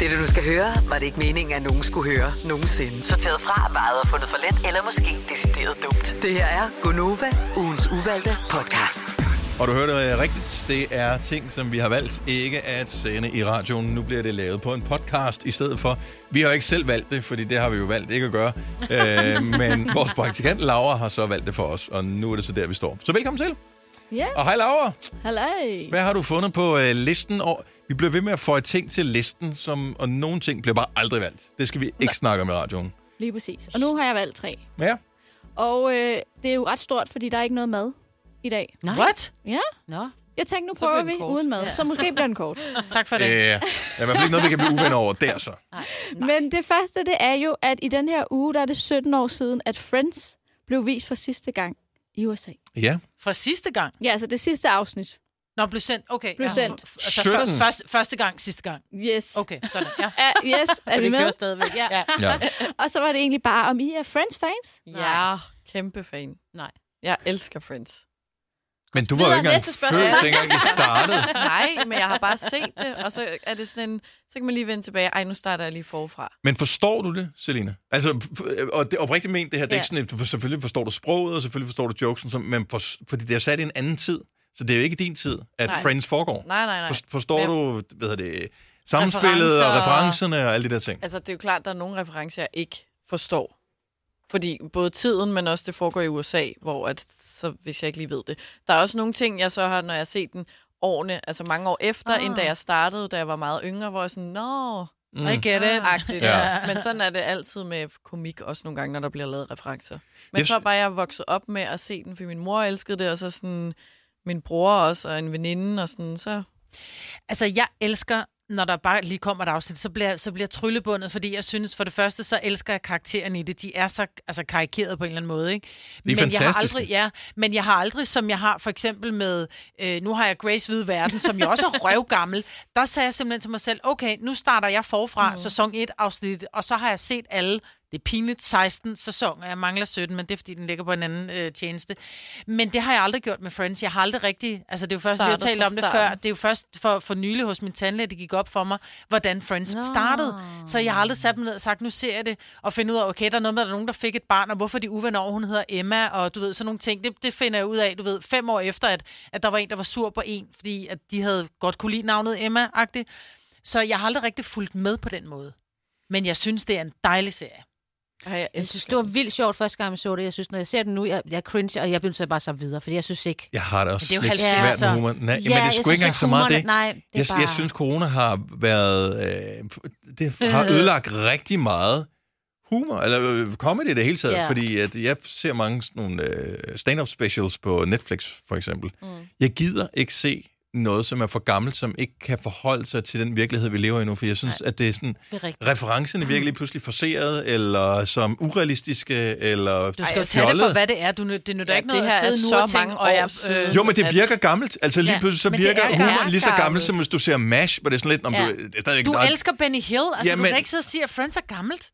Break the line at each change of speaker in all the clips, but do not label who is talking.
Det, du nu skal høre, var det ikke meningen, at nogen skulle høre nogensinde.
Sorteret fra, vejet og fundet for let, eller måske decideret dumt.
Det her er Gonova, ugens uvalgte podcast.
Og du hørte øh, rigtigt, det er ting, som vi har valgt ikke at sende i radioen. Nu bliver det lavet på en podcast i stedet for. Vi har jo ikke selv valgt det, fordi det har vi jo valgt ikke at gøre. Øh, men vores praktikant Laura har så valgt det for os, og nu er det så der, vi står. Så velkommen til.
Ja,
Og hej Laura.
halløj.
Hvad har du fundet på øh, listen? over... vi bliver ved med at få ting til listen, som, og nogle ting bliver bare aldrig valgt. Det skal vi ikke snakke om i radioen.
Lige præcis. Og nu har jeg valgt tre.
Ja,
Og øh, det er jo ret stort, fordi der er ikke noget mad i dag.
Nej.
What?
Ja,
Nå,
jeg tænkte, nu
bliver
prøver
den
vi
kort.
uden mad.
Ja.
Ja. Så måske bliver den kort.
Tak for
øh,
det.
der er i hvert fald ikke noget, vi kan blive uvenner over der så.
Men det første, det er jo, at i den her uge, der er det 17 år siden, at Friends blev vist for sidste gang i USA.
Ja,
Fra sidste gang.
Ja, altså det sidste afsnit.
Nå, blev sendt. Okay.
Blev
ja.
sendt.
F- Altså,
Sytten.
først, første, første gang, sidste gang.
Yes.
Okay, sådan. Ja.
Ja, yes, er
For
vi
det kører
med?
stadigvæk. Ja.
Ja.
ja.
ja.
Og så var det egentlig bare, om I er Friends-fans?
Nej.
Nej.
Ja, kæmpe fan.
Nej.
Jeg elsker Friends.
Men du var jo ikke engang
Videre, næste spørgsmål.
født, dengang vi startede.
Nej, men jeg har bare set det, og så er det sådan en, så kan man lige vende tilbage. Ej, nu starter jeg lige forfra.
Men forstår du det, Selina? Altså, f- og det er oprigtigt ment, det her, det er
Ja.
ikke sådan, at du- selvfølgelig forstår du sproget, og selvfølgelig forstår du jokesen, som- men for, fordi det er sat i en anden tid, så det er jo ikke din tid, at
Nej.
Friends foregår.
Nej, nej, nej.
For, forstår
Men-
du, hvad hedder det, samspillet og
Referencer.
referencerne og alle de der ting?
Altså, det er jo klart, der er nogle referencer, jeg ikke forstår. Fordi både tiden, men også det foregår i USA, hvor at, så hvis jeg ikke lige ved det. Der er også nogle ting, jeg så har, når jeg har set den årene, altså mange år efter, ah. end da jeg startede, da jeg var meget yngre, hvor jeg sådan, nå,
Mm.
I get it.
agtigt.
Ja.
Ja. Men sådan er det altid med komik, også nogle gange, når der bliver lavet referencer. Men
Jeg
jeg tror
sy-
bare, jeg er vokset op med at se den, fordi min mor elskede det, og så sådan min bror også, og en veninde, og sådan, så...
Altså, jeg elsker, når der bare lige kommer et afsnit, så bliver, så bliver jeg tryllebundet, fordi jeg synes, for det første, så elsker jeg karaktererne i det. De er så altså, karikeret på en eller anden måde, ikke?
De er
men jeg har
fantastiske.
aldrig, ja, men jeg har aldrig, som jeg har for eksempel med, øh, nu har jeg Grace Hvide Verden, som jo også er røvgammel, der sagde jeg simpelthen til mig selv, okay, nu starter jeg forfra mm. sæson 1 afsnit, og så har jeg set alle, det er pinligt, 16 sæsoner, jeg mangler 17, men det er fordi, den ligger på en anden øh, tjeneste. Men det har jeg aldrig gjort med Friends, jeg har aldrig rigtig, altså det er jo først, vi har
Starter
talt
fra
om det
starten.
før, det er jo først for, for nylig hos min tandlæge, det gik op for mig, hvordan Friends Nå. startede. Så jeg har aldrig sat mig ned og sagt, nu ser jeg det, og finde ud af, okay, der er noget med, at der er nogen, der fik et barn, og hvorfor de er uvenner over, hun hedder Emma, og du ved, sådan nogle ting. Det, det finder jeg ud af, du ved, fem år efter, at, at der var en, der var sur på en, fordi at de havde godt kunne lide navnet Emma-agtigt. Så jeg har aldrig rigtig fulgt med på den måde. Men jeg synes, det er en dejlig serie.
Ej, jeg
Jeg synes, det var vildt sjovt første gang, jeg så det. Jeg synes, når jeg ser det nu, jeg, jeg cringe, og jeg bliver nødt til at bare så videre, fordi jeg synes ikke...
Jeg har det også
Men det er jo
lidt
70'er.
svært med humor. Nej, ja, men det er
jeg
sgu ikke
synes,
engang
at
så meget
humoren-
det.
Nej, det er
Jeg,
bare...
jeg synes, corona har været... Øh, det har ødelagt rigtig meget humor, eller øh, comedy i det hele taget,
Ja.
fordi at jeg ser mange sådan nogle øh, stand-up specials på Netflix, for eksempel. Mm. Jeg gider ikke se noget, som er for gammelt, som ikke kan forholde sig til den virkelighed, vi lever i nu, for jeg synes, Nej. at det er sådan...
Det er rigtigt.
Referencerne virker lige pludselig forceret, eller som urealistiske, eller
Du skal jo tage det for,
fjollede.
hvad det er. Du, nø- det nytter
Ja,
ikke noget
det
at
her er
sidde nu
så
og tænke,
mange
"Åh,
år
øh,
siden."
Jo, men det
at-
virker gammelt. Altså lige
Ja,
pludselig, så
men det
virker
er
humoren
gammelt.
lige så gammel, som
Gammelt.
hvis du ser MASH, hvor det er sådan lidt... Nå, ja.
Ja.
du, det er stadigvæk,
Du
der er-
elsker Benny Hill. Altså,
Ja,
du
men-
kan ikke sidde og sige, at Friends er gammelt.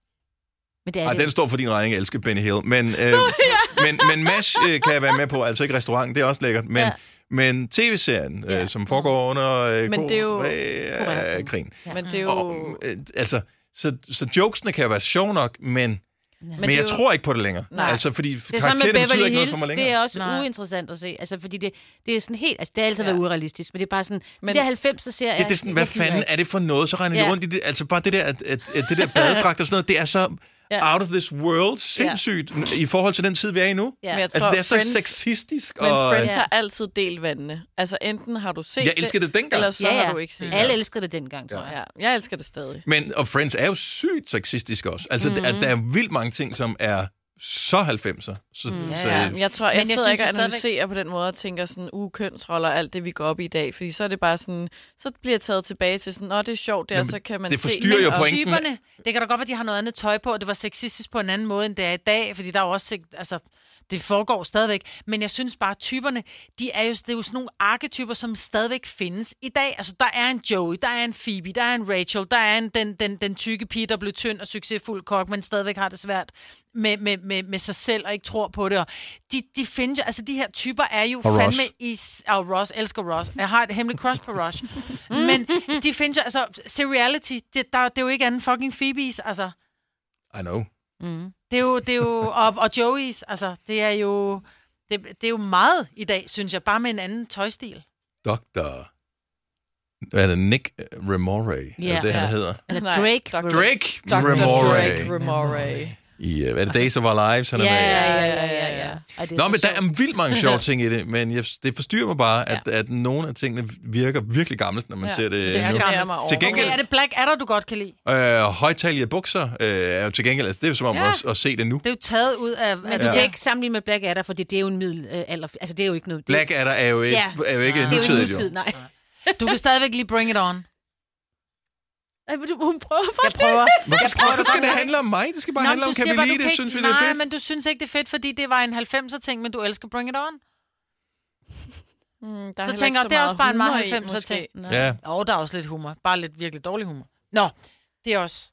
Men det er
Ej,
det.
den står for din regning, jeg elsker Benny Hill. Men, øh, men, men MASH øh, kan jeg være med på, altså ikke restauranten, det er også lækkert. Men, ja.
Ja.
men tv-serien, øh, som foregår under øh,
Men det er jo-
øh, krigen.
Men det er jo...
Og, øh, altså, så, så jokesene kan jo være sjov nok, men, men, men
det er
jeg
jo-
tror ikke på det længere.
Nej.
Altså, fordi
Det er samme med
karakteren betyder
Beverly
ikke noget for mig
Hills.
længere.
Det er også
Nej.
Nej. uinteressant at se. Altså, fordi det, det er sådan helt... Altså, det har altid
Ja.
været urealistisk, men det er bare sådan...
Men-
Men, de der 90'er serier...
Ja, det er sådan, hvad
jeg gider
fanden
ikke.
er det for noget? Så regner de
Ja.
rundt i det. Altså bare det der, at, at, at det der badedragt og sådan noget, det er så
Ja.
out of this world sindssygt ja. i forhold til den tid, vi er i nu. Ja.
Ja.
Men jeg
Altså
tror,
det er så
Friends-
sexistisk.
Men
og, øh,
Friends
Ja.
har altid delt vandene. Altså, enten har du set
Jeg elskede det dengang.
eller så
Ja, ja.
har du ikke set det.
Alle elskede det dengang, tror jeg.
Ja, jeg elsker det stadig.
Men, og Friends er jo sygt sexistisk også. Altså mm-hmm. der, der er vildt mange ting, som er så 90'er. Så, mm. så,
Ja, jeg tror, jeg,
Men jeg
jeg sidder
synes
ikke
jo
og
stadigvæk-
analyserer på den måde og tænker sådan, uh, kønsroller og alt det, vi går op i i dag. Fordi så er det bare sådan, så bliver jeg taget tilbage til sådan, åh, det er sjovt der,
Jamen,
så kan man
det
se.
forstyrrer jo
og-
pointen.
typerne, det kan da godt være, at de har noget andet tøj på, og det var sexistisk på en anden måde, end det er i dag, fordi der er jo også, altså, Det foregår stadigvæk, men jeg synes bare, at typerne, de er jo, det er jo sådan nogle arketyper, som stadigvæk findes i dag. Altså, der er en Joey, der er en Phoebe, der er en Rachel, der er en, den, den, den tykke pige, der blev tynd og succesfuld kok, men stadigvæk har det svært med, med, med, med sig selv og ikke tror på det. Og de, de findes jo, altså de her typer er jo
Og Ross.
fandme i... Og Ross, elsker Ross. Jeg har et hemmeligt crush på Ross. men de findes jo, altså, seriality, det, der, det er jo ikke andet fucking Phoebe's, altså.
I know.
Det er jo, det er jo og, og Joey's, altså, det er jo, det, det er jo meget i dag, synes jeg, bare med en anden tøjstil.
Dr. Hvad er det? Nick Remore. Ja,
Ja.
det, han hedder.
Eller
Nej,
Drake.
Dr.
Drake
Dr. Drake
Remore.
Remore.
I, øh, hvad er det? Days of Our Lives, han er med i?
ja, ja, ja, ja.
Ej, det er
Nå,
så
men der
sjovt.
er vildt mange sjove ting i det, men jeg, det forstyrrer mig bare, at, ja. at, nogle af tingene virker virkelig gammelt, når man ja. ser det, det
Det
nu.
gammelt.
generer mig over.
Til gengæld-
Okay, er det Black Adder, du godt kan lide?
Øh, højtalige bukser øh, er jo til gengæld, altså, det er jo som om ja. at, at se det nu.
Det er jo taget ud af... af
Men du
Ja.
ja. kan ikke sammenligne med Black Adder, fordi det er jo en middelalder. Altså, det er jo ikke noget... Det,
Black Adder er jo ikke,
Ja.
er jo ikke
det er jo ikke
nutidigt,
nutid,
jo.
nej.
Du kan stadigvæk lige bring it on.
Ej, men du, hun prøver
Jeg prøver.
Mm,
Hvorfor, hvorfor skal det handle om mig? Det skal bare Nå, handle om,
du
kan
siger
vi
bare, du
lide det?
ikke-
Synes vi, det
nej,
er fedt?
men du synes ikke, det er fedt, fordi det var en 90'er ting, men du elsker bring it on.
Mm, der
Så
heller
tænker
ikke
jeg, det er også bare en meget
humor i,
90'er
måske.
ting.
Ja,
Åh, oh, der er også lidt humor. Bare lidt virkelig dårlig humor. Nå, det er også...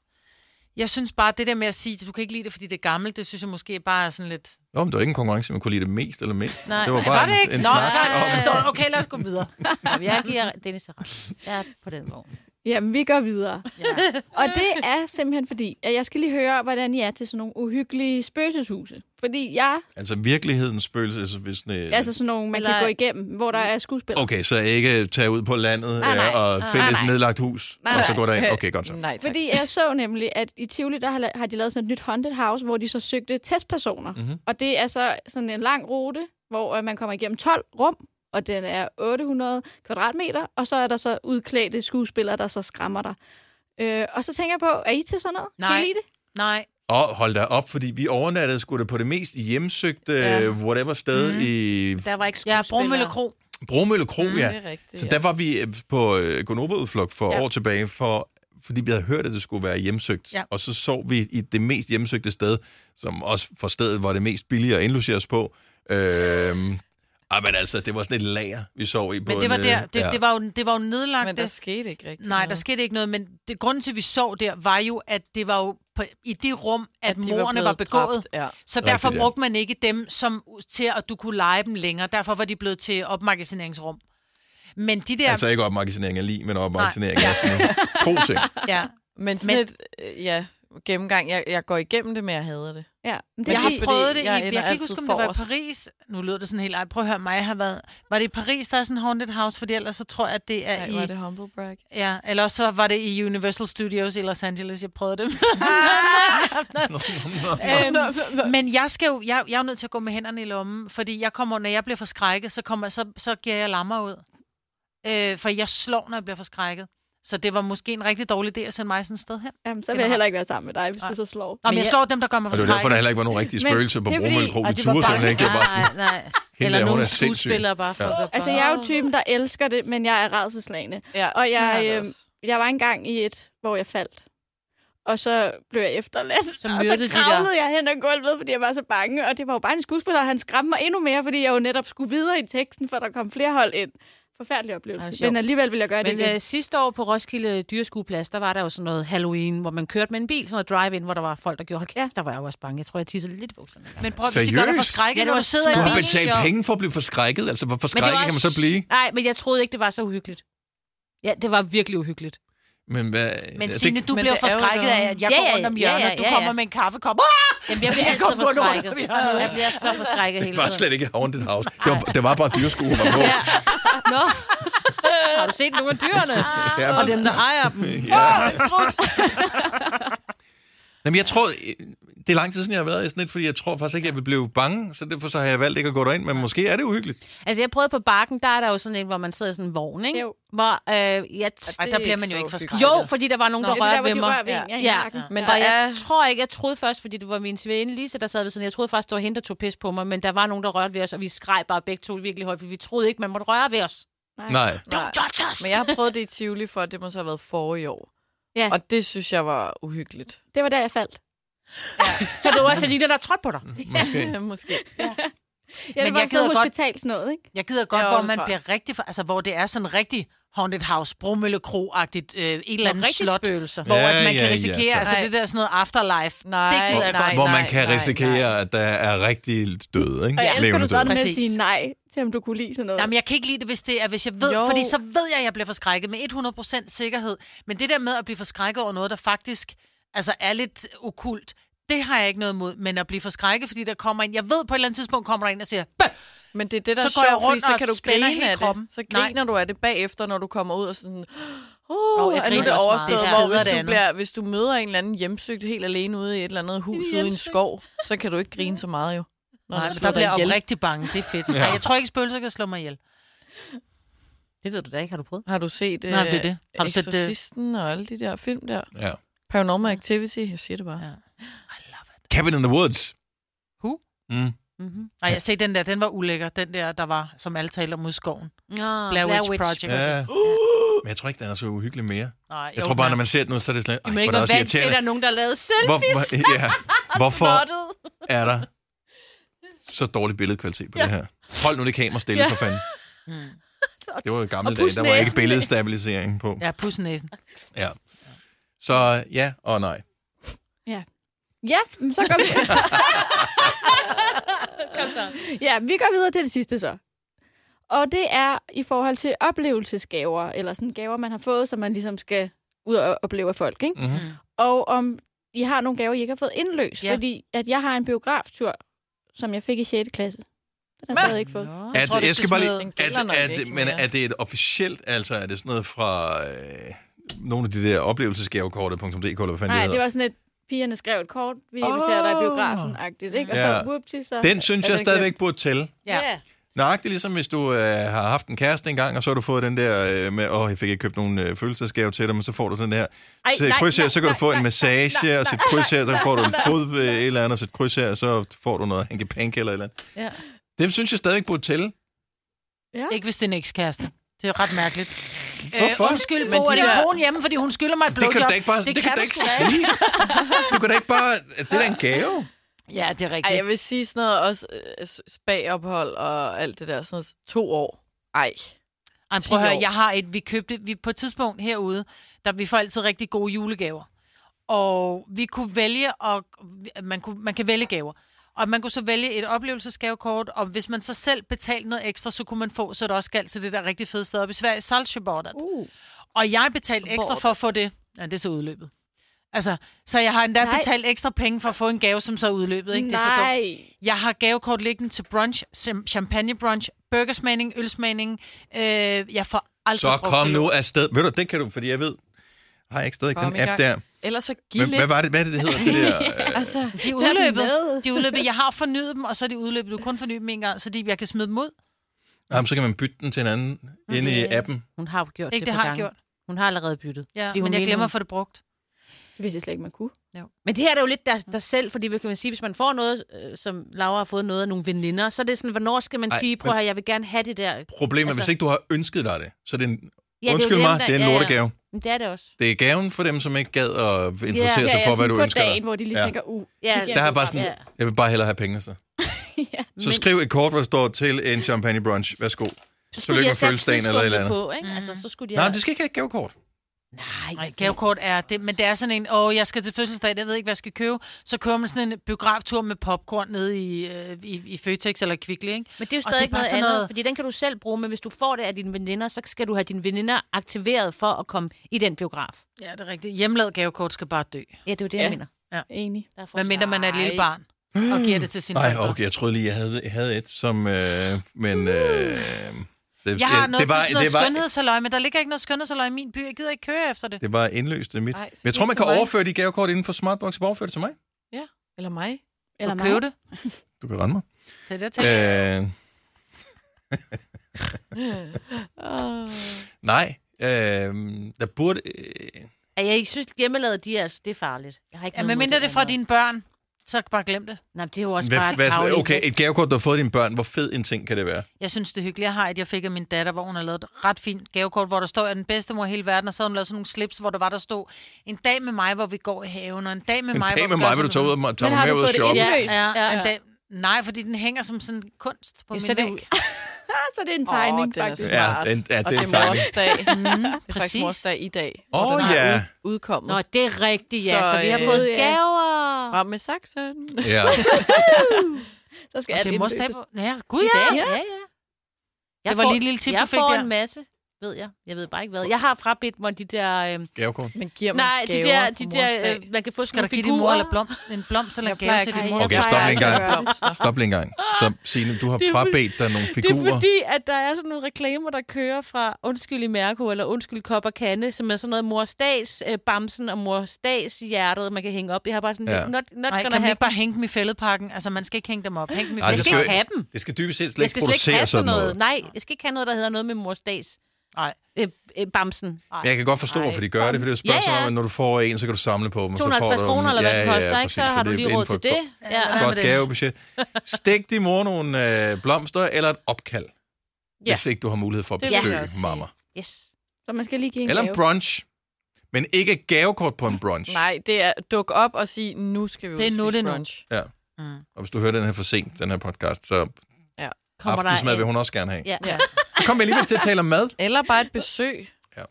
Jeg synes bare, det der med at sige, at du kan ikke lide det, fordi det er gammelt, det synes jeg måske bare er sådan lidt...
Nå, men det var ikke en konkurrence, man kunne lide det mest eller mindst.
Nej,
det var bare
det
en, en
Nå,
snak.
så er det
om-
forstået. Okay, lad os gå videre.
Jeg giver Dennis ret. Jeg er på den vogn.
Jamen, vi går videre. Ja. Og det er simpelthen fordi, at jeg skal lige høre, hvordan I er til sådan nogle uhyggelige spøgelseshuse. Fordi jeg,
Altså virkelighedens spøgelse, altså hvis den, øh,
altså sådan nogle, man
Eller-
kan gå igennem, hvor der er skuespillere.
Okay, så ikke tage ud på landet
Nej, nej.
øh, og
Nej,
finde
nej.
et nedlagt hus,
Nej,
og så
nej.
gå derind. Okay, godt så.
Nej, tak.
Fordi jeg så nemlig, at i Tivoli, der har la- har de lavet sådan et nyt haunted house, hvor de så søgte testpersoner. Mm-hmm. Og det er så sådan en lang rute, hvor øh, man kommer igennem 12 rum, og den er 800 kvadratmeter, og så er der så udklædte skuespillere, der så skræmmer dig. Øh, og så tænker jeg på, er I til sådan noget? Kan
Nej.
I lide det?
Nej,
Og hold da op, fordi vi overnattede sgu da på det mest hjemsøgte ja. whatever sted mm. i
Der var ikke
jeg er
skuespillere.
Bromølle Kro.
Bromølle Kro, mm,
det er
ja.
rigtigt,
Så
ja.
der var vi øh, på øh, Gonova-udflugt for ja.
Ja.
år tilbage, for, fordi vi havde hørt, at det skulle være hjemsøgt.
Ja.
Og så så vi i det mest hjemsøgte sted, som også for stedet var det mest billige at indlogere os på. Øhm, ah, men altså, det var sådan et lager, vi sov i. på
Men det var
en, øh,
der. Det,
ja.
det var jo, det var jo nedlagt.
Men der skete ikke rigtigt
Nej, der
noget.
skete ikke noget, men det, grunden til, at vi så der, var jo, at det var jo på, i det rum, at, at
At de var
morerne var,
blevet
begået.
dræbt, ja.
Så derfor
Rigtigt, ja.
brugte man ikke dem som, til, at du kunne lege dem længere. Derfor var de blevet til opmagasineringsrum. Men de der...
Altså ikke opmagasinering af lige, men opmagasinering af sådan nogle kroting.
ja.
Men sådan et, øh, ja, gennemgang. Jeg, jeg går igennem det, men jeg hader det.
Ja. Men det
Jeg
er
har
fordi-
prøvet det i,
jeg
jeg, jeg
ender
kan ikke
altid
huske, om det var i
forrest.
Paris. Nu lyder det sådan helt, ej, prøv at høre mig, jeg har været. Var det i Paris, der er sådan en haunted house? Fordi ellers så tror jeg, at det er
Ej,
i...
var det humble brag.
Ja, eller også så var det i Universal Studios i Los Angeles, jeg prøvede det. øhm, men jeg, skal jo, jeg, jeg er jo nødt til at gå med hænderne i lommen, fordi jeg kommer, når jeg bliver forskrækket, så, kommer, så, så giver jeg lammer ud. Øh, for jeg slår, når jeg bliver forskrækket. Så det var måske en rigtig dårlig idé at sende mig sådan et sted hen.
Jamen, så vil jeg heller ikke være sammen med dig, hvis du så slår.
Nå, men
Men
jeg
jeg-
slår dem, der gør mig
Og det var derfor,
forskrækket.
der heller ikke var nogen rigtige
Men
spøgelser på
det er fordi-
Bromølle Kro.
Ej,
Vi
de var
turde simpelthen ikke.
bare-
Det var bare sådan,
Nej, nej.
der,
Eller
hun
nogle
er sindssyg.
skuespillere bare for ja.
Altså, jeg er jo typen, der elsker det, men jeg er rædselslagende.
Ja,
Og
sådan har
jeg,
det
øhm,
øh,
også.
jeg var engang i et, hvor jeg faldt. Og så blev jeg efterladt.
Så
og
myrdede de
så
dig.
kravlede jeg hen ad gulvet, fordi jeg var så bange. Og det var jo bare en skuespiller, og han skræmte mig endnu mere, fordi jeg jo netop skulle videre i teksten, for der kom flere hold ind. Forfærdelig
Ej,
oplevelse.
sjovt.
Men alligevel vil jeg gøre det
Men
igen.
øh, sidste år på Roskilde Dyreskueplads, der var der jo sådan noget Halloween, hvor man kørte med en bil, sådan noget drive-in, hvor der var folk, der gjorde, hold kæft, der var jeg jo også bange. Jeg tror, jeg tissede lidt i bukserne.
Men prøv, hvis I gør dig
Seriøst?
forskrækket,
Ja, det
når
var
du sidder i
Du
smart.
bilen.
har
Ej,
betalt
sjovt.
penge for at blive forskrækket. Altså, hvor forskrækket
var
kan man så blive?
Nej, men jeg troede ikke, det var så uhyggeligt. Ja, det var virkelig uhyggeligt.
Men, hvad,
Men
ja,
Signe, du
Men
bliver
det er jo
forskrækket
noget.
af, at jeg
Ja,
går
ja,
rundt om
ja, ja,
hjørnet, og du
ja, ja.
kommer med en kaffekop. Ah!
Jamen, jeg bliver
Jeg
altid
kom på noget,
forskrækket.
der bliver noget.
Jeg bliver så forskrækket hele
det var
tiden.
slet ikke Haunted House. Det var, det var bare dyresko, man var på.
Ja. Nå. Har du set nogle af dyrene?
Ja,
Og dem, der ejer dem.
ja. Jamen, jeg tror, det er lang tid siden, jeg har været i sådan et, fordi jeg tror faktisk ikke, jeg vil blive bange, så derfor så har jeg valgt ikke at gå derind, men måske er det uhyggeligt.
Altså, jeg prøvede på bakken, der er der jo sådan en, hvor man sidder i sådan en vogn, ikke?
Jo.
Hvor, øh, jeg t-
Ej, der bliver man jo ikke forskrækket.
jo, fordi der var nogen,
Ja,
der
det er der,
rørte
hvor
ved
de
mig.
rører ved en, ja, i
Ja.
nakken.
Men
Men
der
der, jeg
er...
tror ikke, jeg troede først, fordi det var min sveninde Lise, der sad ved siden. Jeg troede faktisk, det var hende, der tog pis på mig, men der var nogen, der rørte ved os, og vi skreg bare begge to virkelig højt, for vi troede ikke, man måtte røre ved os.
Nej.
Nej.
Touch us!
Men jeg har prøvet det i Tivoli for, at det må så have været forrige år.
Ja.
Og det synes jeg var uhyggeligt.
Det var der, jeg faldt.
Så det var Selina, der trådte på dig.
Måske.
Ja, måske.
Ja, det
Men
var
jeg
sådan noget
gider godt-
hospital, sådan noget, ikke?
Jeg gider godt,
Jo,
hvor
det
man
tror jeg.
bliver rigtig... for- Altså, hvor det er sådan rigtig haunted house, Bromølle Kro-agtigt, øh, et eller andet
Rigtig
slot,
spøgelser.
hvor at
Ja,
man
ja,
kan
ja,
risikere...
tak.
altså,
Nej.
det der sådan noget afterlife.
Nej,
det gider jeg
nej,
godt.
Hvor
nej,
man kan
nej,
risikere, at der er rigtig døde, ikke?
Og jeg elsker, du
Levende døde.
starter med at
Præcis.
sige nej, til om du kunne lide sådan noget.
Jamen, jeg kan ikke lide det, hvis det er, hvis jeg ved,
Jo.
jo. fordi så ved jeg, at jeg bliver forskrækket med 100% sikkerhed. Men det der med at blive forskrækket over noget, der faktisk altså er lidt okult, det har jeg ikke noget imod. Men at blive forskrækket, fordi der kommer en, jeg ved på et eller andet tidspunkt, kommer der en og siger, "Bøh!"
Men det er det,
Så
der er
går jeg
sjovt, fordi
rundt
så
og
kan du
spænder
grine
hele
af
kroppen.
det. Så griner du af det bagefter, når du kommer ud og sådan...
Nå,
Oh,
jeg
er nu
griner
det
også meget.
overstået,
Det er
hvor
federe det
hvis du,
andet.
bliver, hvis du møder en eller anden hjemsøgt helt alene ude i et eller andet hus ude i en skov, så kan du ikke grine så meget jo. Når
Nej,
du
men der
slår dig
bliver jeg
ihjel.
rigtig bange. Det er fedt. Nej, jeg tror ikke, spøgelser kan slå mig ihjel.
Det ved du da ikke, har du prøvet?
Har du set øh,
Nej, det er det. Har du set det?
Exorcisten og alle de der film der?
Ja.
Paranormal Activity, jeg siger det bare.
Ja.
Cabin in the Woods.
Who?
Mm.
Mm-hmm.
Nej, jeg set den der, den var ulækker. Den der, der var, som alle taler om ude i skoven.
Nå,
Blair Witch Project.
Ja. Men jeg tror ikke, den er så uhyggelig mere.
Nej,
Jeg tror bare, når man ser den nu, så er det sådan...
Du
Ej,
må
hvor er
ikke
det
være
også
vant til, at der
irriterende.
er nogen, der har lavet
Hvor,
selfies.
hvor, ja. Hvorfor
Snottet.
er der så dårlig billedkvalitet på det her? Hold nu det kamera stille,
Ja.
for fanden. Det var jo gamle
Og
dage,
pus
der var ikke
næsen.
billedstabilisering på.
Ja, pussenæsen.
Ja. Så ja og nej.
Ja, men så går vi... ja, vi går videre til det sidste så. Og det er i forhold til oplevelsesgaver, eller sådan gaver, man har fået, som man ligesom skal ud og opleve af folk, ikke?
Mhm.
Og om I har nogle gaver, I ikke har fået indløst,
Ja.
ja. fordi at jeg har en biograftur, som jeg fik i 6. klasse. Den har jeg stadig ikke fået.
Nå.
Er
tror,
det,
du
jeg
skal
skal bare lige,
smide-
Den gælder nok
er, er,
ikke
men
mere.
er det et officielt, altså er det sådan noget fra øh, nogle af de der oplevelsesgavekortet.dk, eller hvad fanden
Nej,
det
det
hedder?
var sådan et, pigerne skrev et kort, vi inviterer dig i biografen-agtigt, ikke? Og
Ah. Ja.
så, whoopty, så...
Den synes
er
jeg
den glemt.
stadigvæk burde tælle.
Ja.
Nøjagtigt ligesom hvis du øh, har haft en kæreste engang, og så har du fået den der øh, med, åh, oh, jeg fik ikke købt nogen øh, følelsesgave til dig, men så får du sådan der,
Ej,
sæt
nej,
kryds her,
nej,
så kan du
nej,
få en
nej,
massage,
nej, nej,
og sæt
nej,
kryds her, så
nej,
får du en
nej.
fod øh, et eller andet, og sæt kryds her, så får du noget hanky pank eller et eller andet.
Ja. Øh,
Dem synes jeg stadigvæk burde tælle.
Ikke hvis det er en ekskæreste. Det er ret mærkeligt.
Hvorfor?
Øh, undskyld,
Men
Bo, er
de
det
der-
konen hjemme, fordi hun skylder mig et
Det
blowjob?
kan du da ikke bare, det, det kan du da ikke sige. Du kan da ikke bare, det er da en gave.
Ja, det er rigtigt.
Ej, jeg vil sige sådan noget også øh, spagophold og alt det der, sådan noget, to år. Ej.
Ej,
10
prøv at høre,
år.
jeg har et, vi købte, vi på et tidspunkt herude, der vi får altid rigtig gode julegaver. Og vi kunne vælge, og man, kunne, man kan vælge gaver. Og man kunne så vælge et oplevelsesgavekort, og hvis man så selv betalte noget ekstra, så kunne man få, så det også galt til det der rigtig fede sted oppe i Sverige, Saltsjöbadet.
Uh.
Og jeg betalte ekstra for at få det. Ja, det er så udløbet. Altså, så jeg har endda
Nej.
betalt ekstra penge for at få en gave, som så er udløbet. Ikke? Det er så dumt.
Nej.
Jeg har gavekort liggende til brunch, sem- champagne brunch, burgersmagning, ølsmagning. Øh, jeg får
Altså,
aldrig
Så
brugt
kom
det
nu
lort.
afsted. Ved du, det kan du, fordi jeg ved, har jeg ikke stadig
Kom
den
i
app
gang.
der.
Ellers så giv
Men,
lidt.
hvad var det, hvad er det, det hedder? Det der, øh,
Altså,
De er
Tag den
udløbet.
med.
De er udløbet. Jeg har fornyet dem, og så er de udløbet. Du kan kun forny dem en gang, så de, jeg kan smide dem ud.
jamen, så kan man bytte den til en anden inde i appen.
Hun har jo gjort
Ikke,
det,
det
på
har jeg
gangen.
gjort.
Hun har allerede byttet.
Ja,
Fordi hun
men jeg
mener,
glemmer
hun-
at få det brugt.
Det vidste jeg slet ikke, man kunne.
Men det her er jo lidt der, der selv, fordi hvad kan man sige, hvis man får noget, øh, som Laura har fået noget af nogle veninder, så er det sådan, hvornår skal man
Ej,
Ej, sige, prøv
men-
at høre, jeg vil gerne have det der. Ja,
Problemet er, hvis
Altså-
ikke du har ønsket dig det, så er det en,
det er
ja,
jo
undskyld
dem,
mig,
der-
det er
ja,
en
ja.
lortegave.
Men det er det også.
Det er gaven for dem, som ikke gad at interessere
Ja,
sig
ja,
for, hvad
sådan
du
på
ønsker
dagen,
dig.
hvor de lige
Ja.
tænker, uh,
Ja,
det
Der har jeg bare sådan,
Ja.
jeg vil bare hellere have penge så. Så skriv et kort, hvor der står til en champagne brunch. Værsgo.
Så
Tillykke
de have
med
sat
fødselsdagen eller et eller andet.
tidspunktet På, ikke? Altså, så skulle de
Ja. Nej,
have...
du skal ikke have et gavekort.
Nej, gavekort er det, men det er sådan en, åh, jeg skal til fødselsdag, jeg ved ikke, hvad jeg skal købe. Så kører man sådan en biograftur med popcorn nede i, øh, i, i Føtex eller Kvickly, ikke?
Men det er
Og det
jo
er
stadig det
bare
noget
sådan
andet,
noget-
noget... fordi den kan du selv bruge, men hvis du får det af dine veninder, så skal du have dine veninder aktiveret for at komme i den biograf.
Ja, det er rigtigt. Hjemmelavet gavekort skal bare dø.
Ja, det er jo det, ja. jeg mener.
Enig.
Der er forskel.
Hvad mindre man er et lille barn og giver det til sin
Nej, okay, jeg troede lige, jeg havde, jeg havde et, som... Øh, men... Øh, det,
Jeg har
det
noget det
var-
var, til sådan noget
det var-
skønhedshalløj, men der ligger ikke noget skønhedshalløj i min by. Jeg gider ikke køre efter det.
Det var indløst i mit.
Ej,
Ej,
så
men jeg tror,
giv
man
til
kan
mig.
overføre de gavekort inden for Smartbox og overføre det til mig.
Eller mig.
Eller
mig.
købe det.
Du kan rende mig.
Det er det, jeg tænker.
Øh,
Oh.
Ah.
nej, øh, der burde... Øh,
Ja, jeg ikke synes, hjemmelavet, de er, altså, det er farligt. Jeg har ikke
Ja,
noget
men
imod
mindre det er fra
andet.
dine børn, så bare glem det.
Nej, men det er jo også bare
Hvad, hvad,
tarveligt.
okay, et gavekort, du har fået af dine børn, hvor fed en ting kan det være?
Jeg synes, det er hyggeligt. Jeg har et, jeg fik af min datter, hvor hun har lavet et ret fint gavekort, hvor der står, at den bedste mor i hele verden, og så har hun lavet sådan nogle slips, hvor der var, der stod en dag med mig, hvor vi går i haven, og en dag med
En
mig,
dag
hvor
med
vi gør
mig, vil
sådan
du tage ud
og
og ma- tage
Men har
mig med
du
ud og
fået
shoppe.
det indløst?
sådan.
Ja,
Ja,
ja.
en dag... Nej, fordi den hænger som sådan en kunst på
Ja,
min
så er det jo-
væg. Mm,
Så det er en tegning,
Åh,
oh,
den er
faktisk.
smart.
Ja, den- ja, det
og
er
det
en
er
tegning.
mors dag. Det er faktisk
Præcis.
mors dag i dag, hvor
Åh,
den har
ja.
ud- udkommet.
Nå, det er rigtigt, ja. Så,
Så,
så vi har
øh,
fået
ja.
gaver.
Frem med saksen.
Ja.
Så skal
Og
alt
det er mors dag.
indløses.
på- Ja, gud ja.
Ja,
Ja.
ja, ja. Jeg
Det var
får-
lige et lille tip,
jeg
du fik
får
der.
en masse, ved jeg. Jeg ved bare ikke hvad. Jeg har frabedt mig de der... Øh,
Gavekort.
Men giver man
nej, de
gaver
der,
på
de
mors
der
dag?
øh, man kan få
Skal
sådan
du
nogle
give din mor
figurer.
eller blomst, en blomst eller en
Jeg
gave
plejer
til
ikke-
din mor?
Jeg
Okay,
plejer
stop lige en
altså
gang.
at gøre blomster.
Stop lige en gang. Så, Signe, du har
Det er fordi-
frabedt dig nogle
Det er
figurer.
fordi, at der er sådan nogle reklamer, der kører fra Undskyld i Mærko eller Undskyld Kop og Kande, som er sådan noget mors dags øh, bamsen og mors dags hjertet, man kan hænge op. Jeg har bare sådan,
Ja.
ja. not, not
Nej,
gonna
kan man
have
ikke bare hænge dem i fældepakken? Altså, man skal ikke hænge dem op. Hænge dem i
Ej, det
Jeg skal
skal
ikke
jo-
have dem.
Det skal dybest set slet
Jeg
ikke
skal slet ikke
producere
have
sådan
sådan
noget.
noget. Nej, jeg skal ikke have noget, der hedder noget med mors dags
Nej.
øh, øh, bamsen.
Men jeg kan godt forstå, hvorfor de gør det, for det er et spørgsmål, ja,
Ja, ja.
ja. når du får en, så kan du samle på dem. og så får
250
du dem.
kroner, eller hvad
Ja,
det
ja,
koster, ikke?
præcis,
Så har du
det er
lige
inden
råd
for
til
et
det. Ja.
Hvad med
Godt
det?
gavebudget. Stik din mor nogle øh, blomster eller et opkald,
Ja.
hvis ikke du har mulighed for at
Det vil jeg
besøge
også sige.
mamma.
Yes.
Så man skal lige give en
Eller en
gave.
brunch. Men ikke et gavekort på en brunch.
Nej, det er duk op og sige, nu skal vi ud
Det er nu,
og spise
det er nu.
brunch.
Ja.
Mm.
Og hvis du hører den her for sent, den her podcast, så
Kommer der
aftensmad vil
en-
hun også gerne have.
Ja.
Ja.
ja.
Så kom vi alligevel til at tale om mad.
Eller bare et besøg.
Ja.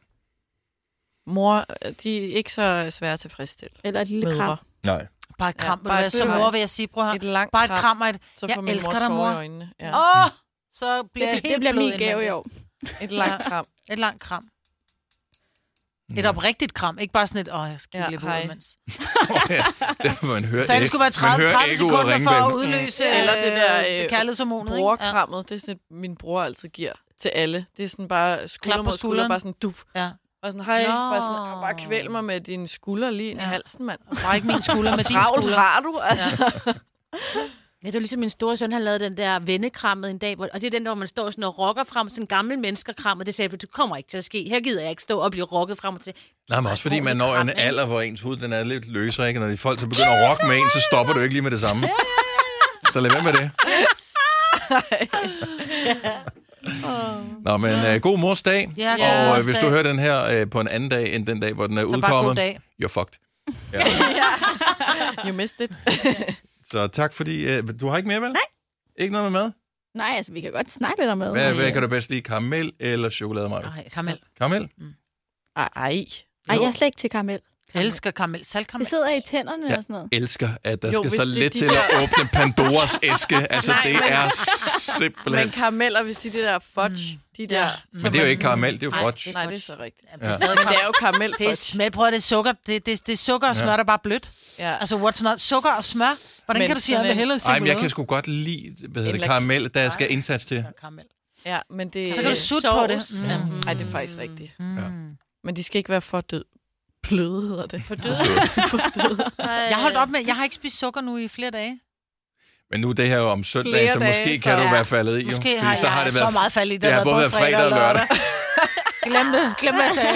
Mor, de er ikke så svære at tilfredsstille.
Eller et lille kram.
Mødre.
Nej.
Bare et kram.
Ja,
Ja,
bare
bare
et
som
kram.
mor vil jeg sige, bror.
Et langt
Bare et
kram.
kram og et...
Så
Jeg
får min
elsker
mor
dig,
tårer
mor.
i øjnene. Ja.
Åh! Så bliver jeg
Det,
helt
det bliver
blød
min
indvendigt.
gave i år.
Et langt kram.
Et langt kram. Et oprigtigt kram, ikke bare sådan et, åh, jeg skal
Ja,
ja, lige
hej.
bruge imens.
det man hører
Så det skulle være 30, 30 sekunder for at udløse
Mm. Eller det der, øh,
kærlighedshormonet, ikke? Ja.
Brorkrammet, det er sådan et, min bror altid giver til alle. Det er sådan bare skulder
Klap på
mod skulder,
skulderen.
bare sådan duf.
ja.
Bare sådan, hej,
Nå.
bare, sådan, "Ah, bare kvæl mig med din skulder lige ind i
Ja.
halsen, mand.
Bare ikke min skulder med din
Travlt
skulder.
har du, altså. Ja.
det var ligesom min store søn, han lavede den der vendekrammet en dag, hvor, og det er den, der, hvor man står sådan og rokker frem, sådan en gammel menneskerkram, og det sagde jeg, du kommer ikke til at ske. Her gider jeg ikke stå og blive rokket frem og til.
Nej, men også fordi man når en
Ordentligt kram, ikke?
alder, hvor ens hud den er lidt løsere, ikke? Når de folk så begynder at rocke med en, så stopper du ikke lige med det samme. Så lad være med det. Nå, men øh, god mors dag.
Ja, god
og øh,
mors
hvis
dag.
du hører den her øh, på en anden dag, end den dag, hvor den er
Så bare god
udkommet,
dag.
you're fucked. Ja.
You missed it.
Så tak fordi... Øh, du har ikke mere, vel? Nej. Ikke noget med mad?
Nej, altså, vi kan godt snakke lidt om mad.
Hvad, hvad kan du bedst lide? Karamel eller chokolademaj?
Nej, karamel.
Karamel?
Ej.
Ej, jeg er slet ikke til karamel.
Jeg elsker karamel. Saltkaramel.
Det sidder i tænderne og sådan noget.
elsker, at der
Jo,
jo, skal
hvis
så
det er
lidt
de
til at åbne Pandoras æske. Altså,
Nej,
det
men-
er
Men
simpelthen...
karameller, hvis de der fudge, mm. de der...
Ja.
som
Men det er jo
er
ikke
sådan-
karamel, det er jo
Nej,
fudge.
Nej, det er så rigtigt.
Ja.
Men det er jo karamel
Det er smelt, prøv at det er sukker. Det, det, det er sukker og smør, der er bare blødt.
Ja.
Altså, what's not? Sukker og smør? Hvordan
Men
kan du sige, at
sådan
jeg vil
en-
hellere sige
Ej, men jeg kan sgu godt lide hvad hedder det,
Eller-
karamel, der skal indsats til.
karamel.
Ja, men det...
Så kan du sutte på det. Mm.
Mm. Ja. Ej, det er faktisk rigtigt.
Ja.
Men de skal ikke være for død. Bløde hedder det. For død.
Jeg har holdt op med, jeg har ikke spist sukker nu i flere dage.
Men nu er det her jo om søndagen,
Flere
så måske
dage,
kan
så-
du
ja.
være faldet i. jo.
Måske
Fordi
har
så
jeg
har det
så
været,
meget fald i,
det har både været fredag og lørdag.
Glem det. Glem, hvad jeg sagde.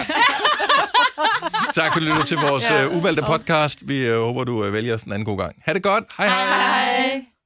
tak for at øh, lytte til vores ja. uvalgte podcast. Vi øh, håber, du øh, vælger os en anden god gang. Ha' det godt. Hej hej. hej.
Hej.